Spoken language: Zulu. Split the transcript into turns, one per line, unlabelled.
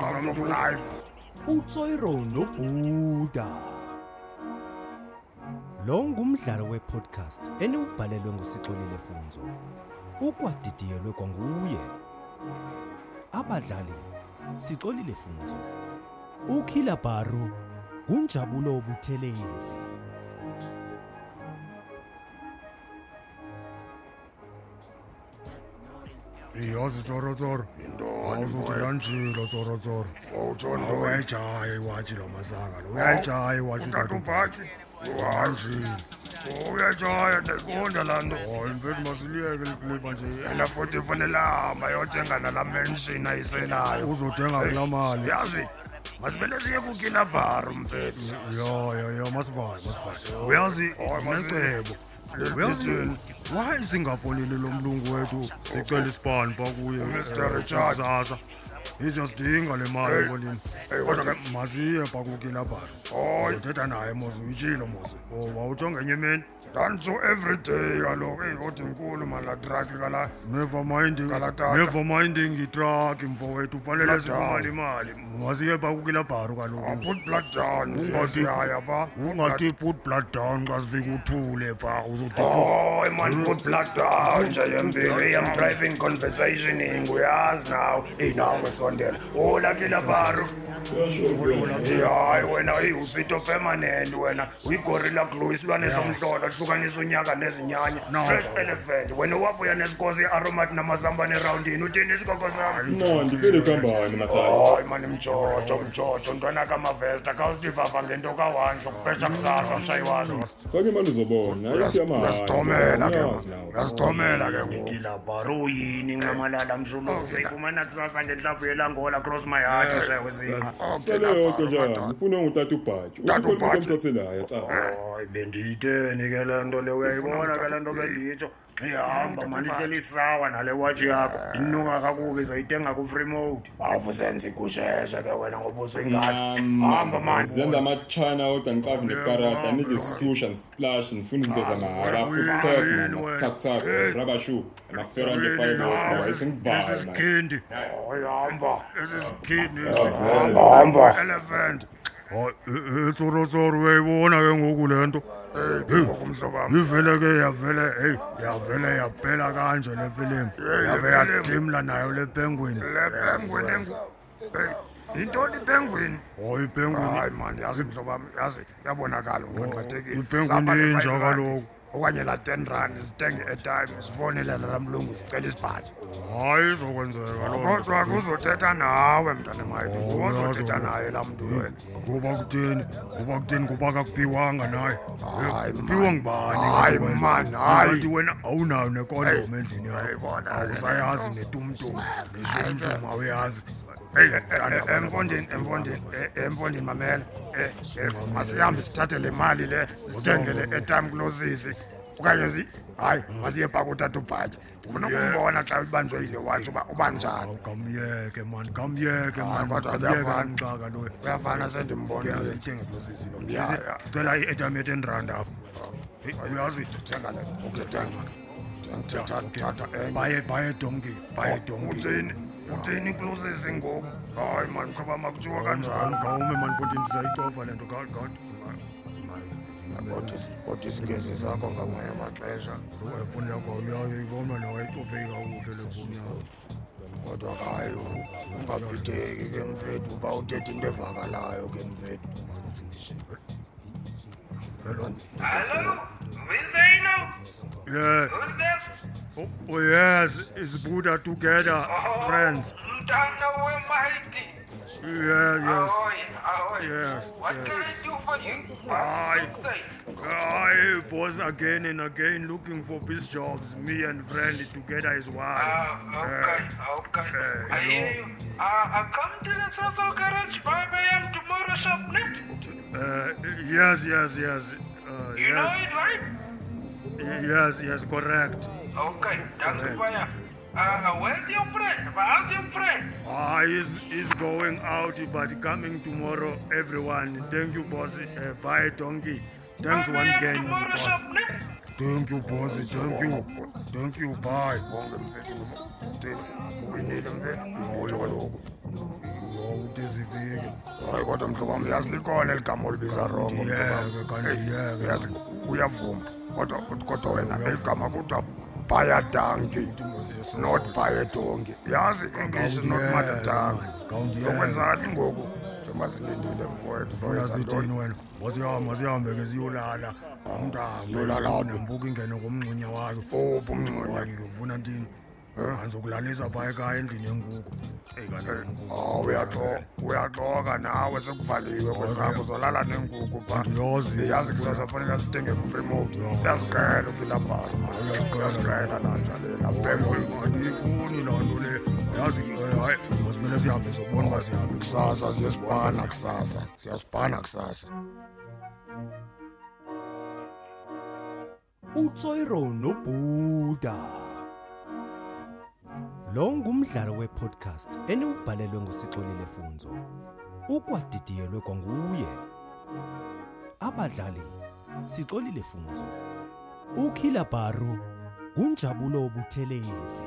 circle of life.
uTsoiro noBuda Lo ngumdlalo wepodcast eniubhalelwe ngusixolile Funzo ukwadidiyelwe kwanguye Abadlali sixolile Funzo uKhila Baru kunjabulo obuthelezi
iyazi tsorotsoro awuzuthi uyanjilo tsorotsoro
Awuthontoni
uyayijaya iwatshi lo masaka lo uyayijaya iwatshi
utata ubhaki uhanjile. Uyatshaya ndiyayiqonda laa nto.
hayi mfethu masiliyeke liklipa nje
Yena futhi fanele ahamba ayothenga nalaa menshini ayisenayo.
uzothenga kulaa mali
Yazi, masibele siye kukinabharu mfethu.
yo yo yo masivaye masivaye uyazi necebo uyazi
Lizini.
wayi singafoleli lo mlungu wethu sicela isipani pha kuye
Mr.
eh,
Richards.
kusasa iziyazidinga le
Hey.
mali konini
Hey,
kodwa
kodwa
ke masiye pha kukinabharu
Hoyi,
uthetha naye mos uyitshilo mos Oh, wawujonge enye imini
dantso everyday kaloku eyodwa inkulu malaa traki kalaa
never minding
Kalatata.
never minding itraki mfowethu ufanele
Kalatata.
sifumane imali masiye pha kukinabharu kaloku
Ah, put blood down
ungaziyaya
pha
ungathi put blood down xa sifika uthule pha uzodinga
Oh, man, put blood down nje yembili I'm driving conversation nguyazi naw inawe sondela Oh, olakila baru hayi wena eyi, usito permanent wena uyigorilla glue isilwane somhlolo hlukanisa unyaka nezinyanya
No.
fresh elephant wena wabuya nesikhosi i-aromat namazambane erawundini uthini isikoko sam
no ndivele kuhambani matsala
hayi mani mjojo mjojo mntwana kamavesta khawusivava ngento kawane sokupesha kusasa mshayiwazo
fake mani uzobona ayithi
uyasichomela ke uyasichomela ke ngoku
ngilabharu
yini nqamalala
Oh,
mshuluzi siyifumana kusasa ngenhlavu yelangola cross my heart sewezinqa
sele yodwa njani ufune ngutata ubhatyi
Tata
uthi kwelike
uBhatyi.
emthathelayo cala
hayi bendiyitheni ke le nto le uyayibona ke le nto bendiyitsho ihamba manihleli isawa nale watshi yakho inuka kakubi zoyitenga kufree mode awufu senza igusheshe ke wena ngoba usuyingathi hamba
zenza
mani
amatshana odwa ndicavi nekarata nidle sisusha ndisplash ndifuna
Ah,
izinto zamahhala futsak manatsaktsak
Eh.
rabashu amaferante fibersingivale man
isisikindi
hayi hamba Oh,
esisikindi
hamba hamba
elephant hayi etsorotsoro uyayibona ke ngoku le nto
ngokumhlobam
ivele ke yavele heyi yavele yapela kanje le filimu
le
yave
filimu.
yadimla nayo le penguini
le penguin engu Hey, yintoni ipenguini
hayi penguini
hayi mani yazi mhlobam yazi yabonakala
Oh,
unqanqathekile
ipenguini
Saba le
inja
five
kaloku.
rand, okanye laa ten rand zithenge etime zifowunele lala mlungu zicela isibhaji
hayi izokwenzeka loo nto
kodwa kuzothetha nawe mntana mayo
Oh,
uzothetha
uyazi
naye laa mntu wena
ngoba kutheni ngoba kutheni ngoba kakuphiwanga naye Eh,
Hayi,
kuphiwa
man.
ngubani
Hayi,
kanti wena?
man, hayi.
Kanti wena awunayo nekondom endlini yakho
ayibona.
awusayazi netumtum neshumshum awuyazi
Hey, eh, eh, emfondini emfondini eh, emfondini mamela Eh, eh, masihambe sithathe le mali le sithengele etime kulosisi okanye zi hayi masiye phaa kutata ubhatya ndifuna ukumbona xa ibanjwe yile watshi uba uba njani
kamyeke mani kamyeke
Hayi,
mani
kodwa
kamyeke
uyafana.
amxaka loyo
uyafana sendimbona
aziyithenge kulosisi lo
Ya, ya.
cela i-etam yetenirand apha Hey, uyazi
thenga le ukuthengathatha enye
baye baye donkile
oh,
baye donkile
utheni utheni kulosisi ngoku hayi mani khoba makuthiwa kanjani
ngawume mani fondini sizayicofa le nto Ga- ga-
kodwa isigezi sakho ngamanye amaxesha
efoni yakho awuyayo ibona newayicofeki kakuhle le foni yakho
kodwa hayi ungabhideki ke mfethu uba uthetha into evakalayo ke mfethu
Hello? Who is there now?
ye
Who's there?
o- o- yes is buddha together friends
Mtanda wemaiti.
yeah yes
Ahoy, ahoy.
Yes,
What can I do for you?
Aye.
Good day.
i boss again and again looking for biz jobs me and friend together is one
Ah, okay, okay.
eh,
I hear you. Uh, I come to the Soso garage 5 a.m. tomorrow, Shopnet.
uh, yes yes yes uh,
You know
yes
it, right?
yes yes correct
Okay, that's fire. Uh, uh, where's your friend? How's your friend?
Ah, he's, he's going out, but coming tomorrow, everyone. Thank you, boss. Uh, bye, donkey. Thanks
5
one
a.m.
gang,
tomorrow,
boss.
Shopnet.
Thank you, boss. Thank you. Thank you. Bye.
bonke mfethu utheni uwinile mfethu utsho kaloku
Oh, this uzivike
hayi kodwa mhlobo wam yazi likhona eli gama olibiza rongo
ndiyeke kanti ndiyeke
yazi uyavuma kodwa kodwa wena eli gama kuthiwa bhayadanki not bhayedonki yazi english not madadanki zokwenzakali ngoku njengoba silindile mfowethu
funa
zoyenza
sithini
ntoni
wena masihambe masihambe ke siyolala
siyolala apho?
mntambunembuka ingene ngomngxunya wakhe
uphi umngxunya
ndizofuna ntini andizokulalisa phaa ekhaya endlini yenkuku eyi kanti
Oh, uyaxo- uyaxoka nawe sekuvaliwe kwezakho zolala nenguku pha
Ndiyazi.
ndiyazi kusasa fanele sidinge kufremode uyaziqela ukilabharo uyaziqela nanjalena
andiyifuni loo nto le yazi eh, hayi masimele sihambe sobona uba sihambe
kusasa siyesibhana kusasa siyasibhana kusasa
uTsoiro noBuda. Lo ngumdlalo wepodcast eniubhalelwe ngusixolile Funzo. Ukwadidiyelwe kwanguye. Abadlali sixolile Funzo. UKhila Baru, kunjabulo obuthelezi.